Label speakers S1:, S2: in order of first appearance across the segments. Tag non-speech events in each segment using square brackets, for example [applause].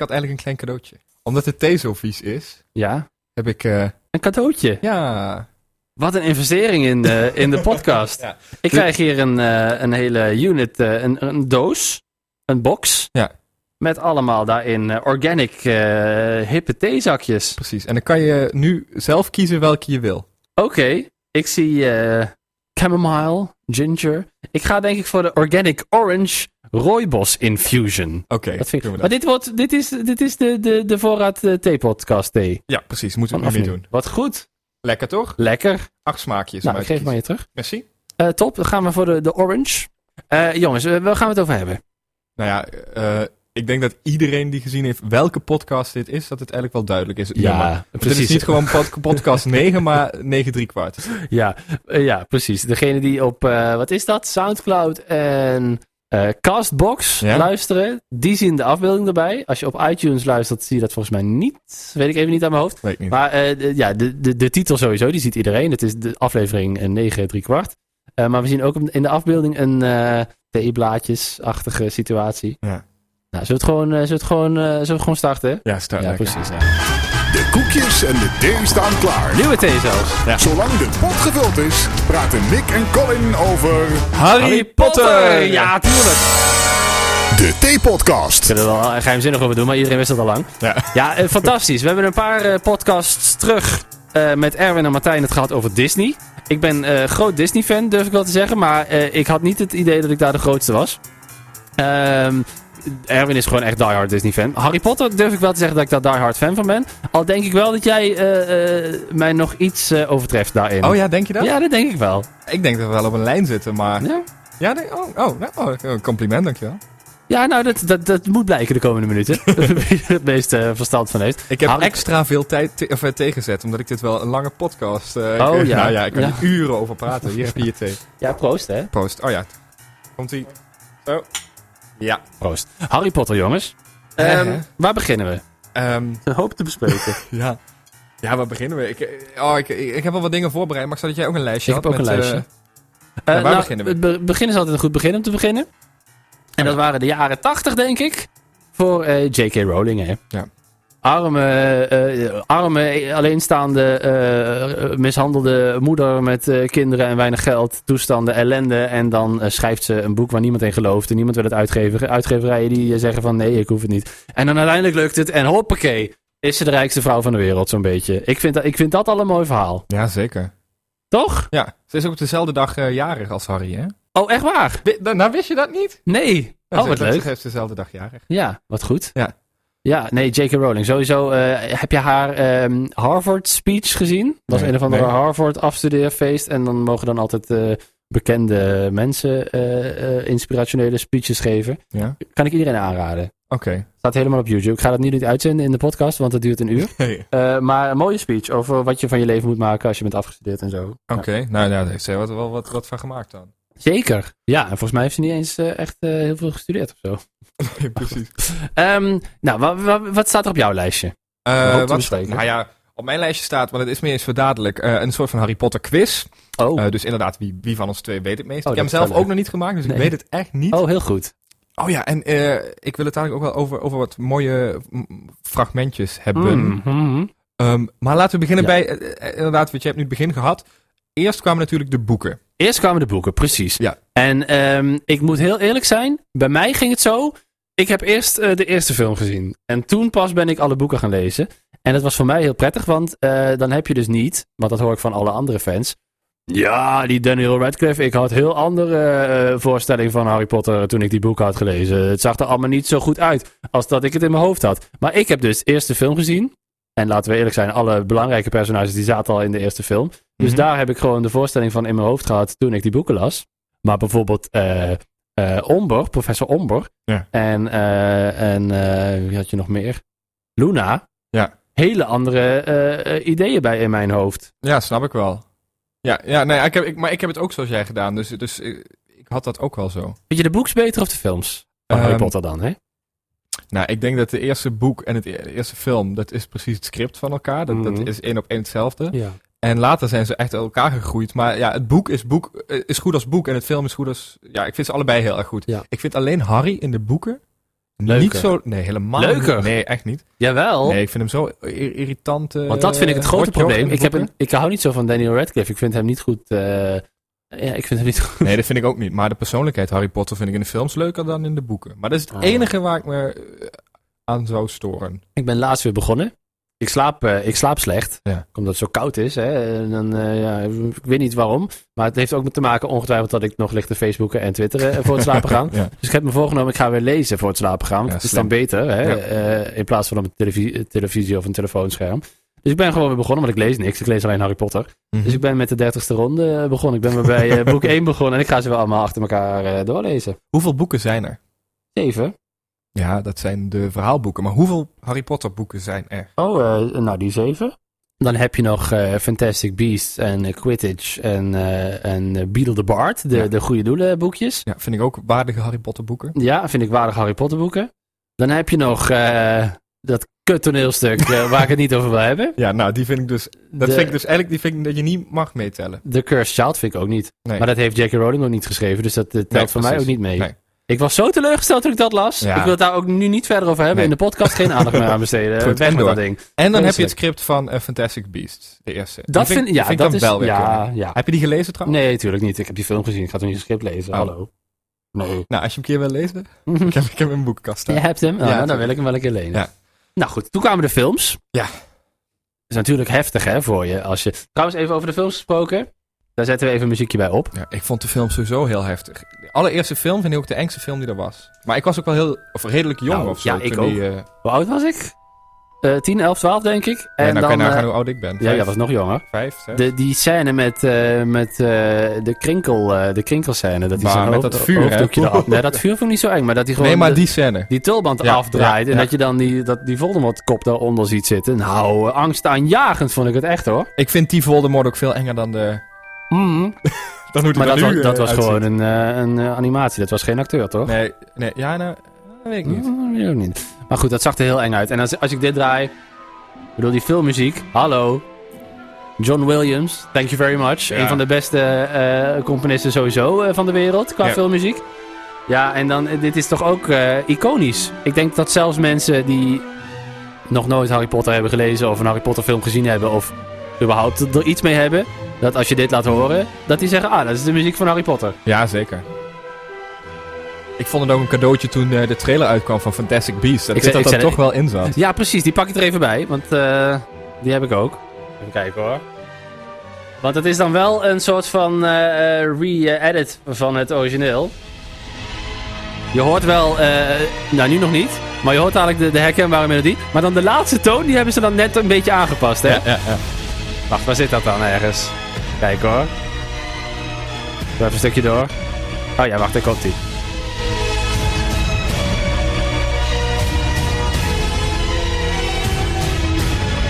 S1: had eigenlijk een klein cadeautje. Omdat de thee zo vies is,
S2: Ja.
S1: heb ik... eh,
S2: Een cadeautje.
S1: ja,
S2: Wat een investering in de, in de podcast.
S1: [laughs] Ja.
S2: Ik krijg hier een, eh, een hele unit, eh, een, een doos, een box.
S1: Ja.
S2: Met allemaal daarin eh, organic eh hippe theezakjes.
S1: precies. En dan kan je nu zelf kiezen welke je wil.
S2: Oké, ik zie eh chamomile, ginger. Ik ga denk ik voor de organic orange rooibos infusion.
S1: Oké,
S2: Dat vind ik,
S1: doen we
S2: maar
S1: dat.
S2: dit, wordt, dit is, dit is de, de, de voorraad eh, theepodcast thee.
S1: Ja, precies. Moeten we
S2: Vanaf
S1: nu
S2: nu.
S1: weer doen.
S2: Wat goed.
S1: Lekker toch?
S2: Lekker.
S1: Acht smaakjes.
S2: Nou,
S1: om
S2: ik
S1: uit
S2: geef
S1: te
S2: maar
S1: kiezen.
S2: je terug.
S1: Merci.
S2: Eh, top, dan gaan we voor de, de orange. Eh, jongens, eh, waar gaan we het over hebben?
S1: Nou ja, eh, ik denk dat iedereen die gezien heeft welke podcast dit is, dat het eigenlijk wel duidelijk is. Jammer. Want Dit is niet gewoon pod-
S2: [laughs]
S1: podcast 9, maar 9 drie kwart.
S2: Ja, eh, ja, precies. Degene die op, eh, wat is dat? Soundcloud en eh, Castbox
S1: Ja.
S2: luisteren, die zien de afbeelding erbij. Als je op iTunes luistert, zie je dat volgens mij niet. Weet ik even niet aan mijn hoofd.
S1: Weet ik niet.
S2: Maar eh, de- ja, de, de, de titel sowieso, die ziet iedereen. Het is de aflevering eh, 9 3 kwart. Eh, maar we zien ook in de achterbeelding een eh TE-blaadjes-achtige situatie.
S1: Ja.
S2: Nou, zullen we het gewoon, eh, zullen we het gewoon, eh, zullen we gewoon starten?
S1: Ja, start
S2: Ja,
S1: lekker.
S2: precies. Ja.
S3: De koekjes en de thee staan klaar.
S2: Nieuwe thee zelfs.
S3: Zolang de pot gevuld is, praten Nick en Colin over
S1: Harry
S2: Ja, tuurlijk.
S3: de Thee-podcast.
S2: kunnen er wel geheimzinnig over doen, maar iedereen wist dat al lang.
S1: Ja.
S2: Ja, eh, fantastisch. We hebben een paar eh, podcasts terug eh, met Erwin en Martijn het gehad over Disney. Ik ben eh, groot Disney-fan, durf ik wel te zeggen, maar eh, ik had niet het idee dat ik daar de grootste was. Ehm, Erwin is gewoon echt diehard Disney-fan. Harry Potter durf ik wel te zeggen dat ik daar diehard fan van ben. Al denk ik wel dat jij eh, eh, mij nog iets eh, overtreft daarin.
S1: Oh ja, denk je dat?
S2: Ja, dat denk ik wel.
S1: Ik denk dat we wel op een lijn zitten, maar...
S2: Ja.
S1: Ja, nee, oh, oh, nou, oh, een compliment, dankjewel.
S2: Ja, nou, dat, dat, dat moet blijken de komende minuten. [laughs] Wie er het meeste verstand van heeft.
S1: Ik heb
S2: Harry-
S1: extra veel tijd te, of, eh, tegenzet, omdat ik dit wel een lange podcast... eh, ik- [laughs]
S2: Oh, ja.
S1: Nou ja, ik kan
S2: Ja.
S1: er uren over praten. Hier heb je je thee.
S2: Ja, proost, hè?
S1: Post. Oh ja. Komt-ie. Zo. Ja.
S2: Proost. Harry Potter, jongens.
S1: Hè,
S2: Ehm,
S1: hè?
S2: waar beginnen we?
S1: Ehm,
S2: Een hoop te bespreken.
S1: Ja. Ja, waar beginnen we? Ik, eh, oh, ik, ik, ik heb al wat dingen voorbereid, maar ik zou dat jij ook een lijstje
S2: Ik
S1: had.
S2: heb ook een
S1: met,
S2: lijstje.
S1: eh, waar beginnen we?
S2: nou, Het be- begin is altijd een goed begin om te beginnen. En dat waren de jaren 80, denk ik. Voor eh, J.K. Rowling, hè?
S1: Ja.
S2: Arme, eh, arme, eh, alleenstaande, eh, mishandelde moeder met eh, kinderen en weinig geld. Toestanden, ellende. En dan eh, schrijft ze een boek waar niemand in gelooft. En niemand wil het uitgeven. Uitgeverijen die eh, zeggen van nee, ik hoef het niet. En dan uiteindelijk lukt het. En hoppakee, is ze de rijkste vrouw van de wereld, zo'n beetje. Ik vind, dat, ik vind dat al een mooi verhaal.
S1: ja, zeker.
S2: Toch?
S1: Ja, ze is ook op dezelfde dag eh, jarig als Harry, hè?
S2: Oh, echt waar?
S1: Wi- da- nou, wist je dat niet?
S2: Nee.
S1: Ja,
S2: Oh,
S1: ze-
S2: wat
S1: dat-
S2: leuk.
S1: Ze heeft dezelfde dag jarig.
S2: Ja, wat goed.
S1: Ja.
S2: Ja, nee, J.K. Rowling. Sowieso, eh, heb je haar ehm, Harvard speech gezien? Dat was
S1: Nee,
S2: een of andere
S1: nee.
S2: Harvard afstudeerfeest. En dan mogen dan altijd eh, bekende mensen eh, eh, inspirationele speeches geven.
S1: Ja?
S2: Kan ik iedereen aanraden.
S1: Oké. [laughs]
S2: Staat helemaal op YouTube. Ik ga dat nu niet uitzenden in de podcast, want dat duurt een uur.
S1: Hey.
S2: Eh, maar een mooie speech over wat je van je leven moet maken als je bent afgestudeerd en zo.
S1: Oké, nou, nou, daar heeft ze wat, wel wat, wat van gemaakt [laughs] dan.
S2: Zeker. Ja, en volgens mij heeft ze niet eens eh, echt eh, heel veel gestudeerd of zo.
S1: precies.
S2: Ehm, nou, wa- wa- wat staat er op jouw lijstje? Een hoop te
S1: wat,
S2: bespreken.
S1: nou ja, op mijn lijstje staat, want het is meer eens voor dadelijk, eh, een soort van Harry Potter quiz.
S2: Oh,
S1: Eh, dus inderdaad, wie, wie van ons twee weet het meest?
S2: Oh,
S1: ik heb
S2: dat
S1: hem zelf
S2: is wel
S1: ook nog niet gemaakt, dus
S2: Nee.
S1: ik weet het echt niet.
S2: oh heel goed.
S1: Oh ja, en eh, ik wil het eigenlijk ook wel over, over wat mooie mm, fragmentjes hebben.
S2: Mm-hmm.
S1: Ehm, maar laten we beginnen
S2: Hmm. Ja.
S1: bij, eh, eh, inderdaad, want je hebt nu het begin gehad. Eerst kwamen natuurlijk de boeken.
S2: Eerst kwamen de boeken, precies.
S1: Ja.
S2: En ehm, ik moet heel eerlijk zijn, bij mij ging het zo. Ik heb eerst eh, de eerste film gezien. En toen pas ben ik alle boeken gaan lezen. En dat was voor mij heel prettig, want eh, dan heb je dus niet, want dat hoor ik van alle andere fans. Ja, die Daniel Radcliffe, ik had heel andere eh, voorstellingen van Harry Potter toen ik die boeken had gelezen. Het zag er allemaal niet zo goed uit als dat ik het in mijn hoofd had. Maar ik heb dus eerst de film gezien. En laten we eerlijk zijn, alle belangrijke personages die zaten al in de eerste film. Dus
S1: Mhm.
S2: daar heb ik gewoon de voorstelling van in mijn hoofd gehad toen ik die boeken las. Maar bijvoorbeeld eh, eh, Omber, professor Omber.
S1: Ja.
S2: En, eh, en eh, wie had je nog meer? Luna.
S1: Ja.
S2: Hele andere eh, eh, ideeën bij in mijn hoofd.
S1: Ja, snap ik wel. Ja, ja nee, ik heb, ik, maar ik heb het ook zoals jij gedaan, dus, dus eh, ik had dat ook wel zo.
S2: Vind je de boeks beter of de films? Van Harry
S1: Ehm,
S2: Potter dan, hè?
S1: Nou, ik denk dat de eerste boek en het, e- de eerste film, dat is precies het script van elkaar. Dat,
S2: Mhm.
S1: dat is één op één hetzelfde.
S2: Ja.
S1: En later zijn ze echt uit elkaar gegroeid. Maar ja, het boek is, boek eh, is goed als boek en het film is goed als... Ja, ik vind ze allebei heel erg goed.
S2: Ja.
S1: Ik vind alleen Harry in de boeken
S2: Leuker.
S1: Niet zo... Nee, helemaal
S2: Leuker.
S1: niet. Nee, echt niet.
S2: Jawel.
S1: Nee, ik vind hem zo ir- irritant. eh,
S2: Oh. Want dat vind ik het grote
S1: rotjoch
S2: probleem.
S1: in de
S2: Ik, heb een,
S1: voeten.
S2: ik hou niet zo van Daniel Radcliffe. Ik vind hem niet goed. eh, ja, ik vind hem niet goed. [laughs]
S1: Nee, dat vind ik ook niet. Maar de persoonlijkheid Harry Potter vind ik in de films leuker dan in de boeken. Maar dat is het
S2: Ah.
S1: enige waar ik me eh, aan zou storen.
S2: Ik ben laatst weer begonnen. Ik slaap, eh, ik slaap slecht.
S1: Ja.
S2: Omdat het zo koud is. Hè? En dan, eh, ja, ik weet niet waarom. Maar het heeft ook met te maken, ongetwijfeld, dat ik nog ligt te Facebooken en Twitteren eh, voor het
S1: [laughs]
S2: slapen gaan.
S1: Ja.
S2: Dus ik heb me voorgenomen, ik ga weer lezen voor het slapen gaan. Want
S1: Ja,
S2: het is dan
S1: slim.
S2: beter. Hè?
S1: Ja.
S2: eh, in plaats van op een televisie, televisie of een telefoonscherm. Dus ik ben gewoon weer begonnen, want ik lees niks. Ik lees alleen Harry Potter.
S1: Mhm.
S2: Dus ik ben met de dertigste ronde eh, begonnen. Ik ben weer bij [laughs] eh, boek 1 begonnen. En ik ga ze wel allemaal achter elkaar eh, doorlezen.
S1: Hoeveel boeken zijn er?
S2: Zeven.
S1: Ja, dat zijn de verhaalboeken. Maar hoeveel Harry Potter boeken zijn er?
S2: Oh, eh, nou die zeven. Dan heb je nog eh, Fantastic Beasts en eh, Quidditch en, eh, en eh, Beedle the Bard. De,
S1: Ja.
S2: de goede doelen boekjes.
S1: Ja, vind ik ook waardige Harry Potter boeken.
S2: Ja, vind ik waardig Harry Potter boeken. Dan heb je nog eh, dat kut toneelstuk eh, waar ik het niet over wil hebben.
S1: Ja, nou, die vind ik dus... Dat
S2: de,
S1: vind ik dus eigenlijk... Die vind ik dat je niet mag meetellen.
S2: The Cursed Child vind ik ook niet.
S1: Nee.
S2: Maar dat heeft J.K. Rowling ook niet geschreven. Dus dat eh, telt
S1: Nee,
S2: voor mij ook
S1: precies.
S2: niet mee.
S1: Nee.
S2: Ik was zo teleurgesteld toen ik dat las.
S1: Ja.
S2: Ik wil het daar ook nu niet verder over hebben.
S1: Nee.
S2: In de podcast geen aandacht meer aan
S1: [laughs]
S2: besteden.
S1: Goed,
S2: Weg
S1: en
S2: met dat
S1: door.
S2: ding.
S1: En dan heb je
S2: Vreselijk.
S1: het script van eh, Fantastic Beasts, de eerste. Die
S2: Dat vind,
S1: die
S2: ja,
S1: vind ik
S2: dat
S1: dan
S2: is,
S1: wel weer kunnen.
S2: ja, ja.
S1: Heb je die gelezen trouwens?
S2: Nee, tuurlijk niet. Ik heb die film gezien. Ik ga toch niet een script lezen.
S1: Oh.
S2: Hallo.
S1: [laughs]
S2: Nee. [laughs]
S1: Nou, als je hem een keer wil lezen, ik heb ik heb hem in een boekenkast
S2: Je
S1: staan.
S2: hebt hem? Oh,
S1: Ja,
S2: nou, dan
S1: tuurlijk.
S2: wil ik hem wel een keer lenen.
S1: Ja.
S2: Nou goed, toen kwamen de films.
S1: Ja.
S2: is natuurlijk heftig hè, voor je. Als je... Trouwens, even over de films gesproken. Daar zetten we even een muziekje bij op.
S1: Ja, ik vond de film sowieso heel heftig. De allereerste film vind ik ook de engste film die er was. Maar ik was ook wel heel, of redelijk jong
S2: Nou,
S1: of zo.
S2: ja, ik
S1: toen die, eh,
S2: Hoe oud was ik? Eh 10, 11, 12 denk ik. En
S1: ja, nou kan je
S2: eh,
S1: nagaan hoe oud ik ben.
S2: ja,
S1: Vijf,
S2: ja, was nog jonger.
S1: vijf, zes.
S2: De, die scène met, eh, met eh, de, krinkel, eh, de krinkelscène. Dat
S1: Maar
S2: hij zo'n
S1: met
S2: hoofd-
S1: dat vuur, hè?
S2: hoofddoekje
S1: [laughs]
S2: eraf... Nee, dat vuur vond ik niet zo eng. Maar dat hij gewoon
S1: nee, maar
S2: de-
S1: die scène.
S2: die tulband
S1: Ja,
S2: afdraait.
S1: ja,
S2: en
S1: ja.
S2: dat je dan die, dat, die Voldemort-kop daaronder ziet zitten. Nou, eh, angstaanjagend vond ik het echt hoor.
S1: Ik vind die Voldemort ook veel enger dan de... Dan hoe die
S2: Maar
S1: er
S2: dat,
S1: Mm. nu,
S2: was,
S1: eh,
S2: dat was
S1: uitziet.
S2: gewoon eh, een, eh, een eh, animatie. Dat was geen acteur toch?
S1: Nee, nee, ja, nou, dat weet ik niet.
S2: Mm, weet ik ook niet. Maar goed, dat zag er heel eng uit. En als, als ik dit draai. Ik bedoel, die filmmuziek. Hallo. John Williams, thank you very much.
S1: Ja.
S2: Een van de beste eh, componisten sowieso eh, van de wereld qua
S1: Ja.
S2: filmmuziek. Ja, en dan, eh, dit is toch ook eh, iconisch. Ik denk dat zelfs mensen die nog nooit Harry Potter hebben gelezen... of een Harry Potter film gezien hebben... of überhaupt er iets mee hebben... dat als je dit laat horen, dat die zeggen... ah, dat is de muziek van Harry Potter.
S1: Ja, zeker. Ik vond het ook een cadeautje toen eh, de trailer uitkwam van Fantastic Beasts. Dat ik
S2: Ik zei-
S1: dat dat
S2: ik zei-
S1: toch wel in
S2: [laughs]
S1: zat.
S2: Ja, precies. Die pak ik er even bij. Want eh, die heb ik ook. Even kijken hoor. Want het is dan wel een soort van eh, eh, re-edit van het origineel. Je hoort wel, eh, nou nu nog niet, maar je hoort eigenlijk de, de herkenbare melodie. Maar dan de laatste toon, die hebben ze dan net een beetje aangepast. Hè?
S1: Ja, ja, ja.
S2: Wacht, waar zit dat dan ergens? Kijk hoor. Doe even een stukje door. Oh ja, wacht, daar komt ie.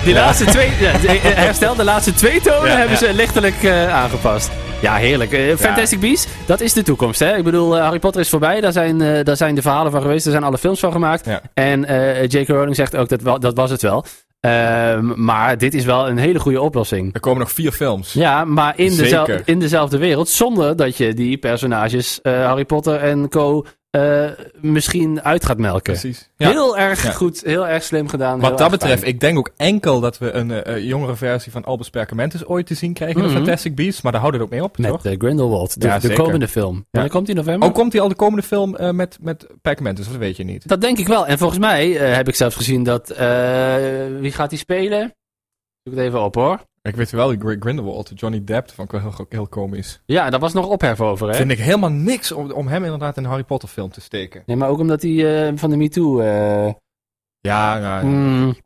S2: Die laatste twee, ja, de- eh, herstel, de laatste twee tonen
S1: Ja,
S2: hebben
S1: ja.
S2: ze lichtelijk eh, aangepast. Ja, heerlijk. Eh, Fantastic Beasts, dat is de toekomst. Hè? Ik bedoel, eh, Harry Potter is voorbij. Daar zijn, eh, daar zijn de verhalen van geweest. Daar zijn alle films van gemaakt.
S1: Ja.
S2: En eh, J.K. Rowling zegt ook, dat, wa- dat was het wel. Ehm, maar dit is wel een hele goede oplossing.
S1: Er komen nog vier films.
S2: Ja, maar in,
S1: Zeker.
S2: dezelfde, in dezelfde wereld. Zonder dat je die personages eh, Harry Potter en co. eh, misschien uit gaat melken.
S1: Precies. Ja.
S2: Heel erg
S1: Ja.
S2: goed, heel erg slim gedaan. heel
S1: Wat dat
S2: erg
S1: betreft,
S2: fijn.
S1: ik denk ook enkel dat we een eh, eh, jongere versie van Albus Perkamentus ooit te zien krijgen
S2: Mhm.
S1: in de Fantastic Beasts. Maar daar houdt het ook mee op, toch?
S2: Met eh, Grindelwald, de,
S1: Ja,
S2: de
S1: zeker.
S2: komende film. En dan komt die in november?
S1: Ook komt die al de komende film eh, met, met Perkamentus, dat weet je niet.
S2: Dat denk ik wel. En volgens mij eh, heb ik zelfs gezien dat... eh, wie gaat die spelen? Zoek het even op hoor.
S1: Ik weet wel, die Gr- Grindelwald, Johnny Depp, vond ik wel heel, heel komisch.
S2: Ja, daar was nog ophef over hè?
S1: Vind ik helemaal niks om, om hem inderdaad in een Harry Potter film te steken.
S2: Nee, maar ook omdat hij eh, van de MeToo... eh
S1: Ja, nou,
S2: mm,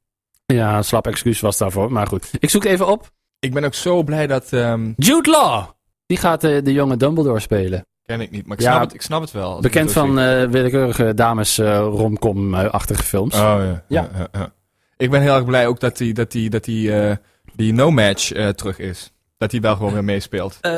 S2: ja, een slap excuus was daarvoor. Maar goed, ik zoek het even op.
S1: ik ben ook zo blij dat... ehm,
S2: Jude Law. Die gaat eh, de jonge Dumbledore spelen.
S1: ken ik niet, maar ik,
S2: Ja,
S1: snap, het, ik snap het wel. als ik
S2: Bekend
S1: het zo
S2: van
S1: zie.
S2: eh, willekeurige dames eh, romcom-achtige films.
S1: Oh, ja. Ja. ja, ja. Ik ben heel erg blij ook dat die, dat die, dat die, eh, die no-match eh, terug is. Dat hij wel gewoon weer meespeelt.
S2: Ehm,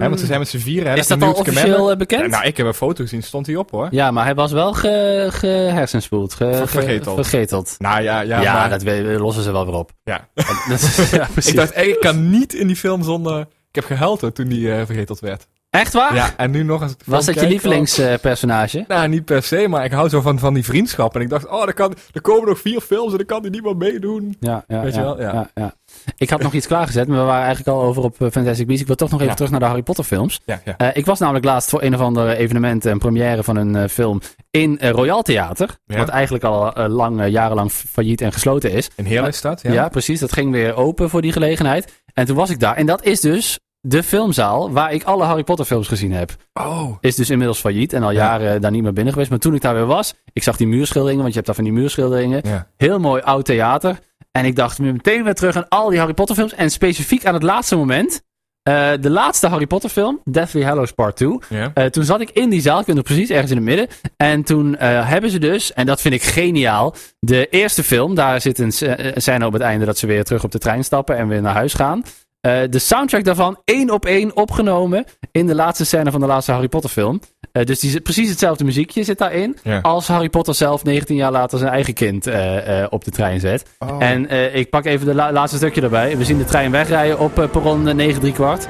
S1: Hè, want ze zijn met z'n vieren. Hè,
S2: is
S1: met
S2: dat al
S1: Newt
S2: officieel
S1: Scamander.
S2: eh, bekend?
S1: Ja,
S2: Ja,
S1: nou, ik heb een foto gezien, stond hij op hoor.
S2: maar hij was wel ge- gehersenspoeld. Ge, ge-
S1: vergeteld.
S2: vergeteld.
S1: Nou ja, ja,
S2: Ja,
S1: maar-
S2: dat we- we lossen ze wel weer op.
S1: ja.
S2: [laughs]
S1: [laughs]
S2: Dat is- ja, precies.
S1: ik dacht, ik kan niet in die film zonder... Ik heb gehuild hoor, toen die eh vergeteld werd.
S2: Echt waar?
S1: Ja, en nu nog als ik ervan
S2: Ah. Was dat je
S1: kijk,
S2: lievelingspersonage?
S1: dan- Nou, niet per se, maar ik hou zo van, van die vriendschap. En ik dacht, oh, er, kan, er komen nog vier films en dan kan die niemand meedoen.
S2: Ja, ja,
S1: Weet je
S2: ja,
S1: wel? Ja.
S2: ja. Ik had nog iets klaargezet, maar we waren eigenlijk al over op eh, Fantastic Beasts. Ik wil toch nog even
S1: Ja.
S2: terug naar de Harry Potter films.
S1: Ja, ja.
S2: Eh, ik was namelijk laatst voor een of ander evenement, een première van een eh, film in eh, Royal Theater.
S1: Ja.
S2: Wat eigenlijk al eh, lang, eh, jarenlang failliet en gesloten is.
S1: In Heerlen is dat,
S2: Ja. precies. Dat ging weer open voor die gelegenheid. En toen was ik daar. En dat is dus de filmzaal waar ik alle Harry Potter films gezien heb.
S1: Oh,
S2: Is dus inmiddels failliet en al
S1: Ja.
S2: jaren eh, daar niet meer binnen geweest. Maar toen ik daar weer was, ik zag die muurschilderingen, want je hebt daar van die muurschilderingen.
S1: ja.
S2: Heel mooi oud theater. En ik dacht meteen weer terug aan al die Harry Potter films. En specifiek aan het laatste moment. eh, de laatste Harry Potter film, Deathly Hallows Part 2.
S1: ja.
S2: Eh, toen zat ik in die zaal, ik weet nog precies, ergens in het midden. En toen eh, hebben ze dus, en dat vind ik geniaal, de eerste film. Daar zit een s- eh, scène op het einde dat ze weer terug op de trein stappen en weer naar huis gaan. Eh, de soundtrack daarvan één op één opgenomen in de laatste scène van de laatste Harry Potter film. Eh, dus die, zit- precies hetzelfde muziekje zit daarin.
S1: Ja.
S2: Als Harry Potter zelf 19 jaar later zijn eigen kind eh, eh, op de trein zet.
S1: Oh.
S2: En eh, ik pak even het laatste stukje erbij. We zien de trein wegrijden op eh, perron eh, 9 3 kwart.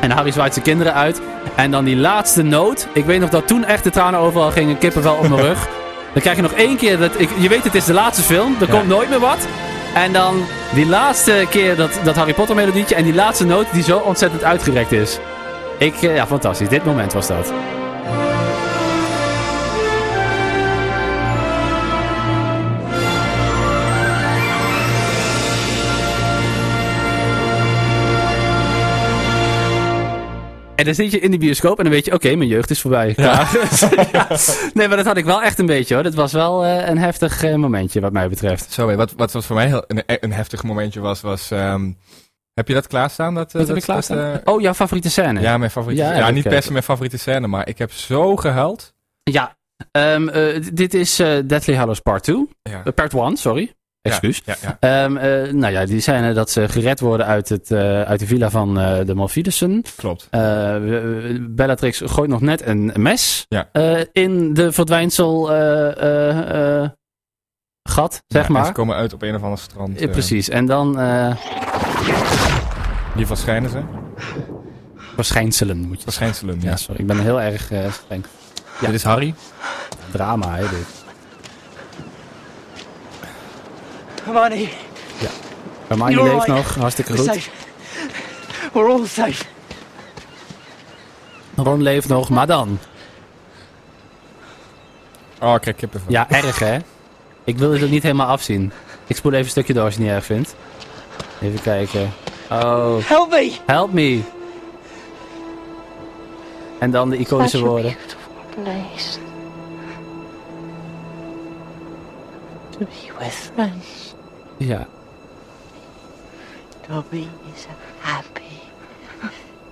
S2: En Harry zwaait zijn kinderen uit. En dan die laatste noot. Ik weet nog dat toen echt de tranen overal gingen. Kippenvel op mijn
S1: [laughs]
S2: rug. Dan krijg je nog één keer dat... Ik, je weet het is de laatste film. Er
S1: Ja.
S2: komt nooit meer wat. En dan die laatste keer dat, dat Harry Potter melodietje. En die laatste noot die zo ontzettend uitgerekt is. Ik, eh, ja, fantastisch. Dit moment was dat. En dan zit je in de bioscoop en dan weet je, oké, mijn jeugd is voorbij.
S1: Ja.
S2: Ja. [laughs] Nee, maar dat had ik wel echt een beetje hoor. Dat was wel eh, een heftig eh, momentje wat mij betreft.
S1: Sorry, wat, wat, wat voor mij heel, een, een heftig momentje was, was... ehm, heb je dat klaarstaan? Dat, eh,
S2: Wat heb
S1: dat-
S2: ik klaarstaan?
S1: dat, eh,
S2: oh, jouw favoriete scène?
S1: ja, mijn favoriete...
S2: Ja,
S1: Ja,
S2: dat
S1: niet
S2: ken ik.
S1: per se mijn favoriete scène, maar ik heb zo gehuild.
S2: Ja. Ehm, eh, d- dit is eh, Deathly Hallows Part 2.
S1: Ja.
S2: Eh, part 1, sorry. Excuus.
S1: Ja, ja.
S2: Ehm, eh, nou ja, die scène dat ze gered worden uit, het, eh, uit de villa van eh, de Malfidussen.
S1: Klopt.
S2: Eh, eh, Bellatrix gooit nog net een mes
S1: Ja.
S2: eh, in de verdwijnsel eh, eh, eh, gat, zeg
S1: Ja, en
S2: maar.
S1: ze komen uit op een of ander strand.
S2: Eh,
S1: eh,
S2: precies. En dan eh,
S1: In ieder geval schijnen eh. ze.
S2: verschijnselen moet je zeggen.
S1: Verschijnselen, ja.
S2: Ja, sorry. Ik ben heel erg eh, streng. Ja.
S1: Dit is Harry.
S2: Drama, hè, dit.
S4: Hermione,
S2: Hermione
S4: You're
S2: leeft
S4: right.
S2: nog, hartstikke
S4: we're
S2: goed.
S4: safe. We're all safe.
S2: Ron leeft nog, maar dan.
S1: Oh, kijk, kippenvel.
S2: Ja, erg hè? Ik wil dit ook niet helemaal afzien. Ik spoel even een stukje door als je het niet erg vindt. Even kijken. Oh,
S4: Help me!
S2: help me. En dan de
S5: Such
S2: iconische
S5: a
S2: woorden.
S5: beautiful place to be with friends.
S2: Ja.
S5: Dobby is happy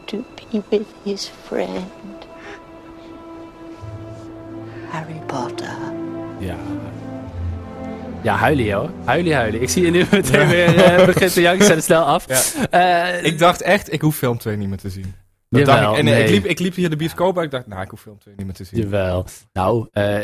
S5: to be with his friend Harry Potter.
S2: Ja. Ja, huilie hoor. Huilie, huilie. Ik zie je nu [laughs] meteen weer eh, begint te janken. Zet het snel af.
S1: Ja.
S2: Eh,
S1: Ik dacht echt, ik hoef film 2 niet meer te zien. Dat
S2: Jawel,
S1: dacht ik. En eh,
S2: nee.
S1: ik, liep, ik liep hier de bioscoop uit. Ik dacht, nou, ik hoef film 2 niet meer te zien.
S2: Jawel. Nou, eh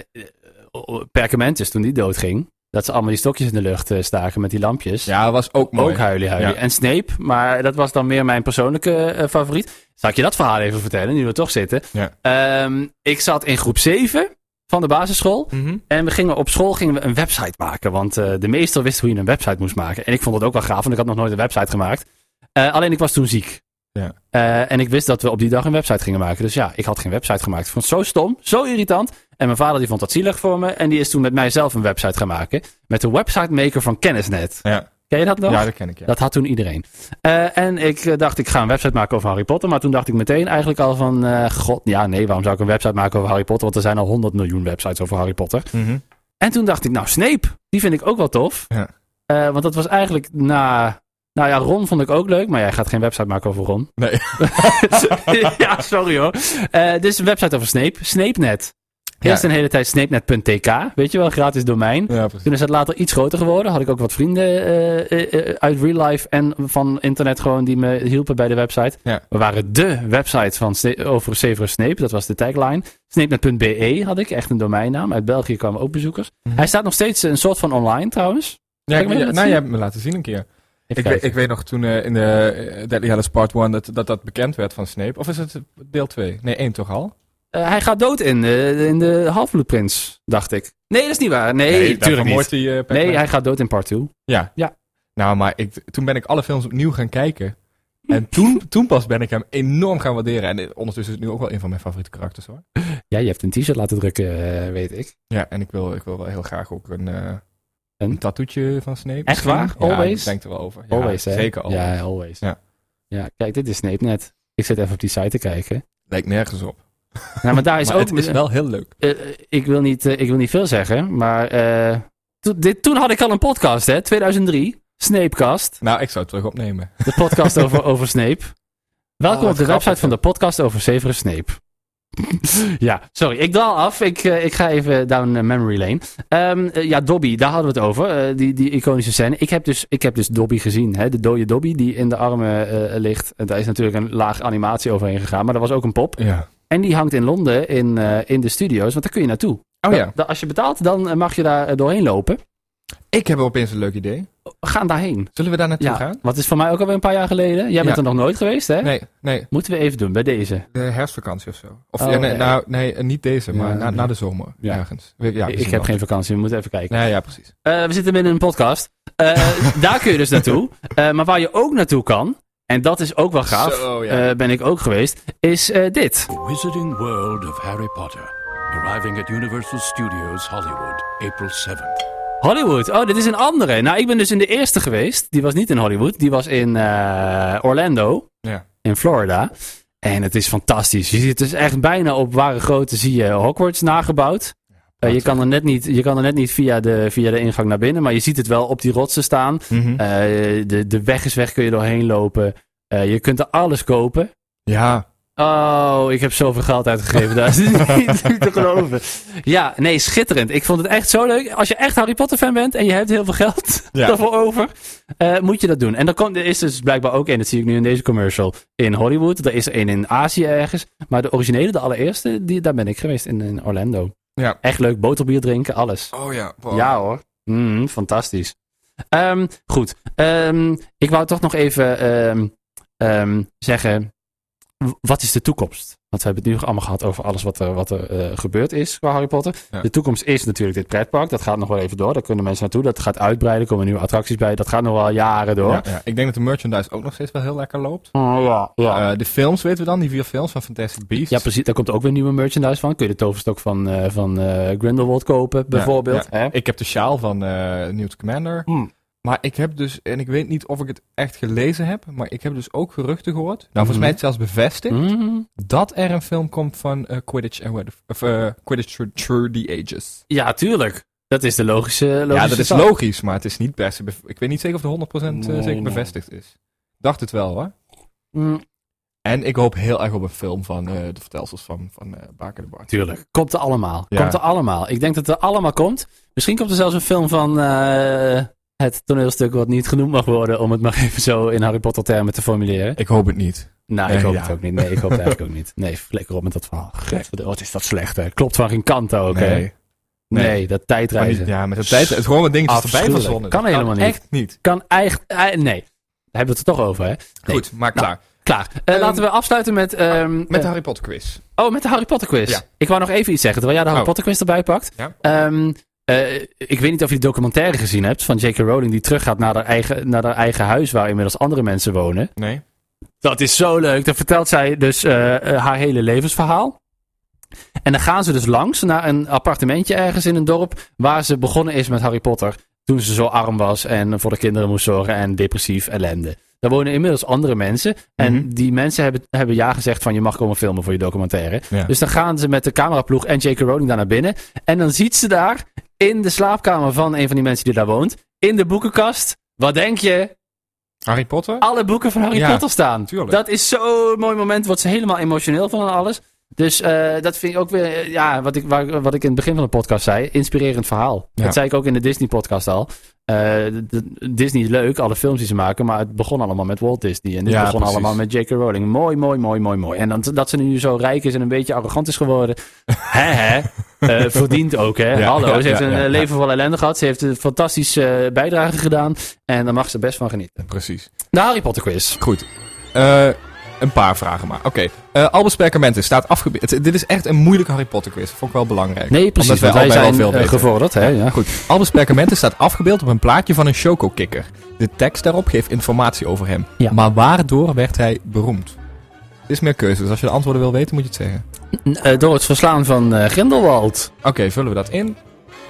S2: Perkamentus toen die doodging. Dat ze allemaal die stokjes in de lucht eh, staken met die lampjes.
S1: Ja, was ook mooi.
S2: Ook huilie huilie.
S1: Ja.
S2: En Snape, maar dat was dan meer mijn persoonlijke eh, favoriet. Zal ik je dat verhaal even vertellen, nu we toch zitten?
S1: Ja.
S2: Ehm, ik zat in groep 7 van de basisschool.
S1: Mhm.
S2: En we gingen op school gingen we een website maken. Want eh, de meester wist hoe je een website moest maken. En ik vond dat ook wel gaaf, want ik had nog nooit een website gemaakt. Eh, alleen ik was toen ziek.
S1: Ja.
S2: Eh, en ik wist dat we op die dag een website gingen maken. Dus ja, ik had geen website gemaakt. Ik vond het zo stom, zo irritant. En mijn vader die vond dat zielig voor me. En die is toen met mij zelf een website gaan maken. Met de website maker van Kennisnet.
S1: Ja.
S2: Ken je dat nog?
S1: ja, dat ken ik, ja.
S2: Dat had toen iedereen. Eh, en ik eh, dacht, ik ga een website maken over Harry Potter. Maar toen dacht ik meteen eigenlijk al van... eh, god, ja nee, waarom zou ik een website maken over Harry Potter? Want er zijn al 100 miljoen websites over Harry Potter.
S1: Mhm.
S2: En toen dacht ik, nou Snape, die vind ik ook wel tof.
S1: Ja.
S2: Eh, want dat was eigenlijk na... Nou ja, Ron vond ik ook leuk. Maar jij gaat geen website maken over Ron.
S1: Nee.
S2: [laughs] ja, sorry hoor. Eh dus een website over Snape. SnapeNet. Eerst
S1: Ja.
S2: een hele tijd snapenet.tk. Weet je wel, gratis domein.
S1: Ja, precies.
S2: Toen is het later iets groter geworden. Had ik ook wat vrienden eh, eh, eh, uit real life en van internet gewoon die me hielpen bij de website.
S1: Ja.
S2: We waren de website van Sna- over Severus Snape. Dat was de tagline. Snapenet.be E had ik, echt een domeinnaam. Uit België kwamen ook bezoekers.
S1: Mhm.
S2: Hij staat nog steeds een soort van online trouwens.
S1: Ja,
S2: Kan ik me
S1: ja,
S2: dat
S1: nou,
S2: zien?
S1: jij hebt me laten zien een keer. Ik weet, ik weet nog toen eh, in de eh, Deadly Hallows Part 1 dat, dat dat bekend werd van Snape. Of is het deel 2? Nee, 1 toch al?
S2: Eh, hij gaat dood in, eh, in de Halfbloedprins, dacht ik. Nee, dat is niet waar. Nee,
S1: Nee,
S2: tuurlijk niet.
S1: Hij, eh, Pac-Man.
S2: Nee, hij gaat dood in part 2.
S1: Ja.
S2: Ja.
S1: Nou, maar ik, toen ben ik alle films opnieuw gaan kijken. En toen, toen pas ben ik hem enorm gaan waarderen. En eh, ondertussen is het nu ook wel een van mijn favoriete karakters hoor.
S2: Ja, je hebt een t-shirt laten drukken, eh, weet ik.
S1: Ja, en ik wil, ik wil wel heel graag ook een, eh
S2: Een?
S1: een tattooetje van Snape.
S2: Echt waar?
S1: misschien. Ja,
S2: Always?
S1: ik denk er wel over. Ja,
S2: Always, hè?
S1: Zeker always.
S2: Ja, always. Ja.
S1: Ja.
S2: kijk, dit is Snape net. Ik zit even op die site te kijken.
S1: Lijkt nergens op.
S2: Nou, maar daar is
S1: [laughs] Maar
S2: ook...
S1: het is wel heel leuk.
S2: Eh, eh, ik, wil niet, eh, ik wil niet veel zeggen, maar... eh, to- dit, toen had ik al een podcast, hè? 2003. Snapecast.
S1: Nou, ik zou het terug opnemen.
S2: De podcast
S1: [laughs]
S2: over, over Snape. Welkom
S1: Oh, wat
S2: op de
S1: grappig,
S2: website van de podcast over Severus Snape. [laughs] ja, sorry. Ik dwaal af. Ik, eh, ik ga even down eh, memory lane. Ehm, eh, ja, Dobby, daar hadden we het over. eh, die, die iconische scène. Ik heb dus, ik heb dus Dobby gezien. Hè? De dode Dobby die in de armen eh, ligt. En daar is natuurlijk een laag animatie overheen gegaan. Maar er was ook een pop.
S1: Ja.
S2: En die hangt in Londen in, eh, in de studio's. Want daar kun je naartoe.
S1: Oh ja,
S2: Da- als je betaalt, dan eh, mag je daar eh, doorheen lopen.
S1: ik heb opeens een leuk idee.
S2: We gaan daarheen.
S1: Zullen we daar naartoe
S2: Ja,
S1: gaan?
S2: wat is voor mij ook alweer een paar jaar geleden. Jij bent
S1: Ja.
S2: er nog nooit geweest, hè?
S1: Nee, nee.
S2: Moeten we even doen bij deze.
S1: De herfstvakantie of zo. Of
S2: Oh,
S1: ja, nee,
S2: nee.
S1: Nou, nee, niet deze, maar
S2: Ja,
S1: na,
S2: nee.
S1: na de zomer.
S2: Ja.
S1: Ergens. We- Ja, we
S2: ik
S1: zien
S2: heb
S1: wel.
S2: geen vakantie, we moeten even kijken.
S1: Nee, ja, precies.
S2: Eh, we zitten midden in een podcast.
S1: [laughs]
S2: Eh, daar kun je dus naartoe. Eh, maar waar je ook naartoe kan, en dat is ook wel gaaf,
S1: Zo, ja.
S2: eh, ben ik ook geweest, is eh, dit.
S6: The Wizarding World of Harry Potter. Arriving at Universal Studios Hollywood, April 7th.
S2: Hollywood. Oh, dit is een andere. Nou, ik ben dus in de eerste geweest. Die was niet in Hollywood. Die was in eh, Orlando.
S1: Ja.
S2: In Florida. En het is fantastisch. Je ziet dus echt bijna op ware grootte zie je Hogwarts nagebouwd. Eh, je, kan er net niet, je kan er net niet via de, via de ingang naar binnen. Maar je ziet het wel op die rotsen staan.
S1: Mhm.
S2: Eh, de, de weg is weg. Kun je doorheen lopen. Eh, je kunt er alles kopen.
S1: ja.
S2: Oh, ik heb zoveel geld uitgegeven. Daar is
S1: [laughs]
S2: niet te geloven. Ja, nee, schitterend. Ik vond het echt zo leuk. Als je echt Harry Potter fan bent en je hebt heel veel geld [laughs]
S1: Ja.
S2: daarvoor over, eh, moet je dat doen. En dan komt, er is dus blijkbaar ook één, dat zie ik nu in deze commercial, in Hollywood. Er is er één in Azië ergens. Maar de originele, de allereerste, die, daar ben ik geweest in, in Orlando.
S1: Ja.
S2: Echt leuk, boterbier drinken, alles.
S1: Oh ja. wow.
S2: Ja hoor. Mm, fantastisch. Ehm, goed. Ehm, ik wou toch nog even ehm, ehm, zeggen. w- Wat is de toekomst? Want we hebben het nu allemaal gehad over alles wat er, wat er eh, gebeurd is qua Harry Potter.
S1: Ja.
S2: De toekomst is natuurlijk dit pretpark. Dat gaat nog wel even door. Daar kunnen mensen naartoe. Dat gaat uitbreiden. Er komen nieuwe attracties bij. Dat gaat nog wel jaren door.
S1: Ja, ja. Ik denk dat de merchandise ook nog steeds wel heel lekker loopt.
S2: Oh, ja, ja.
S1: Eh, de films weten we dan, die vier films van Fantastic Beasts.
S2: Ja, precies. Daar komt ook weer nieuwe merchandise van. Kun je de toverstok van, eh, van eh, Grindelwald kopen, bijvoorbeeld.
S1: ja.
S2: Hè?
S1: Ik heb de sjaal van eh Newt Commander.
S2: Hmm.
S1: Maar ik heb dus, en ik weet niet of ik het echt gelezen heb, maar ik heb dus ook geruchten gehoord. Nou, volgens
S2: Mhm.
S1: mij is het zelfs bevestigd
S2: Mm.
S1: dat er een film komt van eh, Quidditch, and Where the- of, eh, Quidditch Through, Through the Ages.
S2: Ja, tuurlijk. Dat is de logische, logische
S1: ja, dat is
S2: stap.
S1: logisch, maar het is niet best. Ik weet niet zeker of het 100%
S2: Nee,
S1: zeker
S2: nee.
S1: bevestigd is. Dacht het wel, hoor.
S2: Mm,
S1: En ik hoop heel erg op een film van eh, de vertelsels van, van eh, Baker de Bart.
S2: tuurlijk. Komt er allemaal.
S1: Ja.
S2: Komt er allemaal. Ik denk dat het er allemaal komt. Misschien komt er zelfs een film van eh, het toneelstuk wat niet genoemd mag worden, om het maar [laughs] even zo in Harry Potter termen te formuleren.
S1: Ik hoop het niet.
S2: Nou, ik
S1: Eh,
S2: hoop
S1: ja.
S2: het ook niet. Nee, ik hoop het eigenlijk ook niet. Nee, lekker op met dat verhaal. Godverdomme, Wat is dat slecht, hè? Klopt van geen kant ook, hè? Nee,
S1: Nee. Nee.
S2: dat
S1: Maar niet-
S2: tijdreizen.
S1: ja, met de tijd, het gewoon wat dingetjes erbij
S2: Afschuwelijk.
S1: verzonnen.
S2: Kan
S1: Dat
S2: helemaal niet.
S1: Echt niet.
S2: Kan eigenlijk... eh, nee, daar hebben we het er toch over, hè? Nee.
S1: Goed, maar klaar.
S2: Klaar. Eh,
S1: Ehm,
S2: laten we afsluiten met... ehm,
S1: Met de
S2: eh,
S1: Harry Potter quiz.
S2: Oh, met de Harry Potter quiz.
S1: Ja.
S2: Ik wou nog even iets zeggen, terwijl jij de Harry
S1: Oh.
S2: Potter quiz erbij pakt.
S1: Ja.
S2: Ehm, eh, ik weet niet of je de documentaire gezien hebt van J.K. Rowling die teruggaat naar haar, eigen, naar haar eigen huis waar inmiddels andere mensen wonen.
S1: Nee.
S2: Dat is zo leuk. Dan vertelt zij dus eh, eh, haar hele levensverhaal. En dan gaan ze dus langs naar een appartementje ergens in een dorp waar ze begonnen is met Harry Potter. Toen ze zo arm was en voor de kinderen moest zorgen en depressief ellende. Daar wonen inmiddels andere mensen. En
S1: Mhm.
S2: die mensen hebben, hebben ja gezegd van je mag komen filmen voor je documentaire.
S1: Ja.
S2: Dus dan gaan ze met de cameraploeg en J.K. Rowling daar naar binnen. En dan ziet ze daar in de slaapkamer van een van die mensen die daar woont. In de boekenkast. Wat denk je?
S1: Harry Potter?
S2: alle boeken van Harry
S1: Ja,
S2: Potter staan.
S1: tuurlijk.
S2: Dat is zo'n mooi moment. Wordt ze helemaal emotioneel van en alles. Dus eh, dat vind ik ook weer, eh, ja, wat ik, waar, wat ik in het begin van de podcast zei, inspirerend verhaal.
S1: Ja.
S2: Dat zei ik ook in de Disney-podcast al. Eh, d- d- Disney is leuk, alle films die ze maken, maar het begon allemaal met Walt Disney. En het
S1: Ja,
S2: begon
S1: precies.
S2: allemaal met J.K. Rowling. Mooi, mooi, mooi, mooi, mooi. En dan, dat ze nu zo rijk is en een beetje arrogant is geworden. [laughs] hè, hè? Eh, verdient ook, hè?
S1: Ja,
S2: Hallo,
S1: ja,
S2: ze heeft
S1: ja,
S2: een
S1: ja,
S2: eh,
S1: ja.
S2: leven vol ellende gehad. Ze heeft een fantastische eh, bijdrage gedaan. En daar mag ze best van genieten.
S1: Precies.
S2: De Nou, Harry Potter quiz.
S1: Goed. Eh, een paar vragen maar. Oké. Eh, Albus Perkamenten staat afgebeeld. Dit is echt een moeilijke Harry Potter quiz. Vond ik wel belangrijk.
S2: Nee, precies.
S1: Omdat
S2: Want wij
S1: allebei wel
S2: zijn
S1: veel
S2: eh,
S1: weten.
S2: gevorderd, hè? Ja.
S1: Goed. Albus Perkamenten staat afgebeeld op een plaatje van een chocokikker. De tekst daarop geeft informatie over hem.
S2: Ja.
S1: Maar waardoor werd hij beroemd? Het is meer keuze. Dus als je de antwoorden wil weten, moet je het zeggen.
S2: Eh, door het verslaan van eh, Grindelwald.
S1: Oké, vullen we dat in.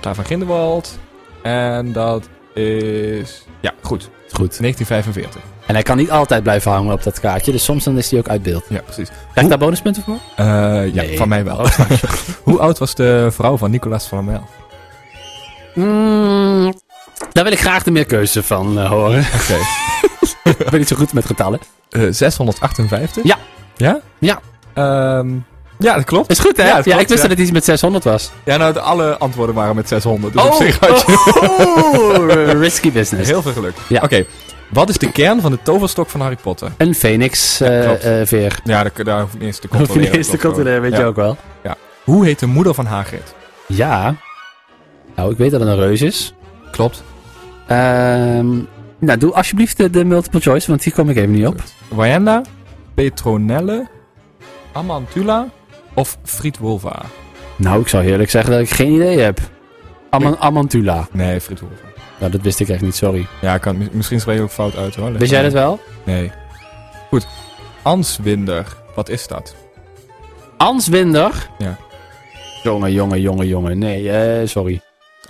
S1: Klaar van Grindelwald. En dat is... Ja, goed.
S2: Goed.
S1: 1945.
S2: En hij kan niet altijd blijven hangen op dat kaartje, dus soms dan is hij ook uit beeld.
S1: Ja, precies.
S2: Krijg ik daar bonuspunten voor?
S1: Eh, ja,
S2: Nee.
S1: van mij wel. [laughs] Hoe oud was de vrouw van Nicolas Flamel?
S2: Mm, daar wil ik graag de meerkeuze van eh, horen.
S1: Oké.
S2: [laughs] ik ben niet zo goed met getallen.
S1: Eh, 658?
S2: Ja.
S1: Ja?
S2: Ja.
S1: Ehm, ja, dat klopt.
S2: Is goed, hè?
S1: Ja,
S2: Ja,
S1: dat klopt,
S2: ik wist
S1: ja.
S2: dat het Oh. iets met 600 was.
S1: Ja, nou, de- alle antwoorden waren met 600. Dus op zich had je
S2: [laughs] oh, risky
S1: [laughs]
S2: business.
S1: heel veel geluk.
S2: Ja.
S1: Oké, wat is de kern van de toverstok van Harry Potter?
S2: Een phoenix eh
S1: klopt.
S2: eh, veer.
S1: Ja, daar, daar hoef ik niet eens te
S2: Hoef je
S1: controleren.
S2: niet eens te
S1: klopt gewoon.
S2: controleren, weet
S1: Ja.
S2: je ook wel.
S1: Hoe heet de moeder van Hagrid?
S2: Ja. Nou, ik weet dat het een reus is.
S1: Klopt.
S2: Ehm, nou, doe alsjeblieft de, de multiple choice, want hier kom ik even niet op.
S1: Wayanda, Petronelle, Amantula of Friedwulva?
S2: Nou, ik zal eerlijk zeggen dat ik geen idee heb. Ama- Amantula.
S1: Nee, Friedwulva.
S2: Nou, dat wist ik echt niet, sorry.
S1: Ja, ik kan, misschien spreek ik ook fout uit hoor.
S2: Wist jij dat wel?
S1: Nee. Goed. Answinder. Wat is dat?
S2: Ans Winder.
S1: Ja.
S2: Jongen, jongen, jongen, jongen. Nee, eh, sorry.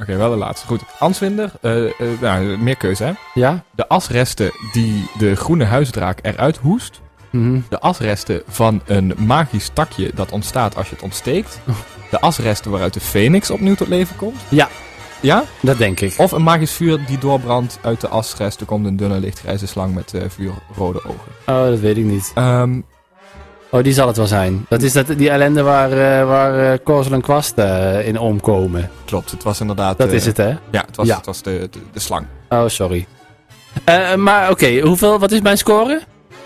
S1: Oké, wel de laatste. Goed. Answinder. eh, eh, nou, meer keuze hè.
S2: Ja?
S1: De asresten die de groene huisdraak eruit hoest.
S2: Mhm.
S1: De asresten van een magisch takje dat ontstaat als je het
S2: [laughs]
S1: ontsteekt. De asresten waaruit de phoenix opnieuw tot leven komt.
S2: Ja.
S1: Ja?
S2: Dat denk ik.
S1: Of een magisch vuur die doorbrandt uit de asresten komt een dunne lichtgrijze slang met eh, vuurrode ogen.
S2: Oh, dat weet ik niet.
S1: Ehm,
S2: Oh, die zal het wel zijn. Dat is dat, die ellende waar, eh waar eh Korzel en Kwast eh, in omkomen.
S1: klopt, het was inderdaad...
S2: Dat
S1: eh,
S2: is het, hè?
S1: Ja, het was,
S2: Ja.
S1: Het was de, de, de slang.
S2: Oh, sorry. Eh, maar oké, hoeveel, wat is mijn score?
S1: Ja,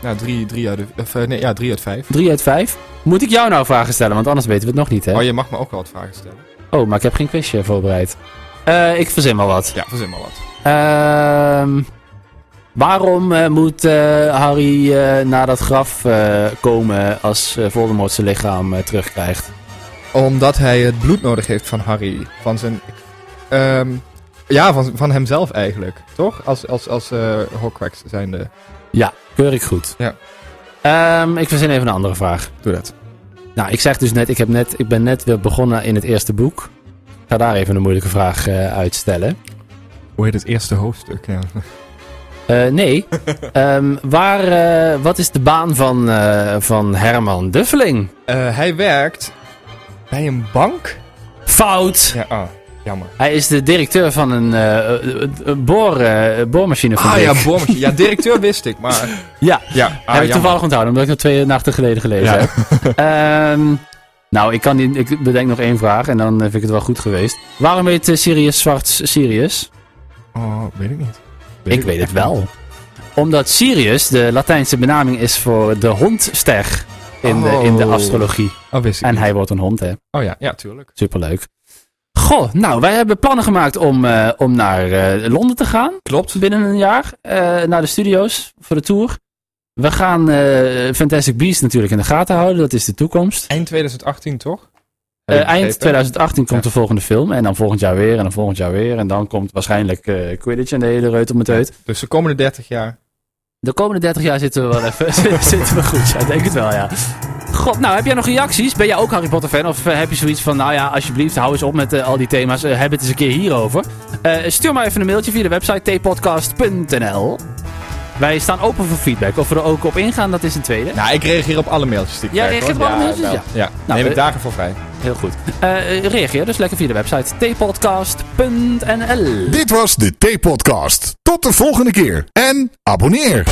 S1: Nou, drie, drie, uit, de, of, eh, nee, ja, drie uit vijf.
S2: 3 uit 5. Moet ik jou nou vragen stellen? Want anders weten we het nog niet, hè?
S1: Oh, je mag me ook wel wat vragen stellen.
S2: Oh, maar ik heb geen quizje voorbereid. Eh, ik verzin wel wat.
S1: Ja, verzin maar wat.
S2: Ehm, waarom eh, moet eh, Harry eh, naar dat graf eh, komen als eh, Voldemort zijn lichaam eh, terugkrijgt?
S1: Omdat hij het bloed nodig heeft van Harry. Van zijn... ehm, ja, van, van hemzelf eigenlijk. Toch? Als, als, als eh Hogwarts zijnde.
S2: Ja, keur ik goed.
S1: Ja.
S2: Ehm, ik verzin even een andere vraag.
S1: Doe dat.
S2: Nou, ik zeg dus net, ik, heb net, ik ben net weer begonnen in het eerste boek. Ik ga daar even een moeilijke vraag eh, uitstellen.
S1: Hoe heet het eerste hoofdstuk? Ja.
S2: Eh,
S1: [laughs]
S2: nee. Ehm, waar, eh, wat is de baan van, eh, van Herman Duffeling?
S1: Eh, hij werkt bij een bank.
S2: Fout!
S1: Ja, ah, jammer.
S2: Hij is de directeur van een eh, eh, eh, eh, boor, eh,
S1: Ah
S2: boormachinefabriek.
S1: ja, bommetje. Ja, directeur wist ik, maar...
S2: [laughs] Ja,
S1: Ja, ah,
S2: heb ik
S1: jammer.
S2: toevallig onthouden, omdat ik dat twee nachten geleden
S1: Ja.
S2: gelezen heb. Ehm, nou, ik, kan niet, ik bedenk nog één vraag en dan eh, vind ik het wel goed geweest. Waarom heet eh, Sirius Zwarts
S1: [laughs]
S2: Sirius?
S1: Oh, weet ik niet.
S2: Ik, weet het wel. Omdat Sirius de Latijnse benaming is voor de hondster in, de, in de
S1: Oh.
S2: astrologie.
S1: Oh, wist ik
S2: En
S1: niet.
S2: hij wordt een hond, hè.
S1: Oh ja, ja, tuurlijk.
S2: Superleuk. Goh, nou, wij hebben plannen gemaakt om, eh, om naar eh, Londen te gaan.
S1: Klopt.
S2: binnen een jaar eh, naar de studio's voor de tour. We gaan eh, Fantastic Beasts natuurlijk in de gaten houden. Dat is de toekomst.
S1: Eind 2018, toch?
S2: Eh, eind
S1: 2018.
S2: 2018 komt de volgende film. En dan volgend jaar weer. En dan volgend jaar weer. En dan komt waarschijnlijk eh Quidditch en de hele reut om het uit.
S1: Dus de komende 30 jaar.
S2: De komende 30 jaar zitten we wel even [laughs] zitten we goed. Ja, ik denk het wel, ja. God, nou, heb jij nog reacties? Ben jij ook Harry Potter fan? Of eh, heb je zoiets van, nou ja, alsjeblieft, hou eens op met eh, al die thema's. eh, heb het eens een keer hierover. Eh, stuur maar even een mailtje via de website tpodcast.nl. Wij staan open voor feedback. Of we er ook op ingaan, dat is een tweede.
S1: Nou, ik reageer op alle mailtjes die ik
S2: Jij
S1: krijg.
S2: reageert
S1: hoor.
S2: op alle mailtjes?
S1: wel.
S2: Ja.
S1: ja.
S2: Nou,
S1: Neem ik
S2: eh,
S1: dagen voor vrij.
S2: Heel goed. Eh, reageer dus lekker via de website tpodcast.nl.
S3: Dit was de T-podcast. Tot de volgende keer en abonneer.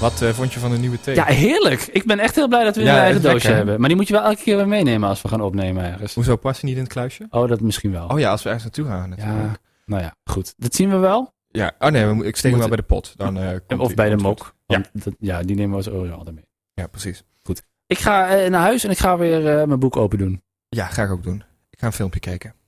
S1: Wat eh, vond je van de nieuwe thee?
S2: Ja, heerlijk. Ik ben echt heel blij dat we
S1: Ja,
S2: een eigen
S1: lekker,
S2: doosje
S1: hè?
S2: hebben. Maar die moet je wel elke keer weer meenemen als we gaan opnemen ergens.
S1: Hoezo past hij niet in het kluisje?
S2: Oh, dat misschien wel.
S1: Oh ja, als we ergens naartoe gaan
S2: ja.
S1: natuurlijk.
S2: Nou ja, goed. Dat zien we wel.
S1: Ja. Oh nee, we mo- ik steek hem wel bij de pot. Dan, eh, komt
S2: Of
S1: hij-
S2: bij de
S1: komt het
S2: mok.
S1: Ja.
S2: Want dat- ja, die nemen we als oren altijd mee.
S1: goed. Ja, precies.
S2: Ik ga eh, naar huis en ik ga weer eh, mijn boek open doen.
S1: Ja, ga ik ook doen. Ik ga een filmpje kijken.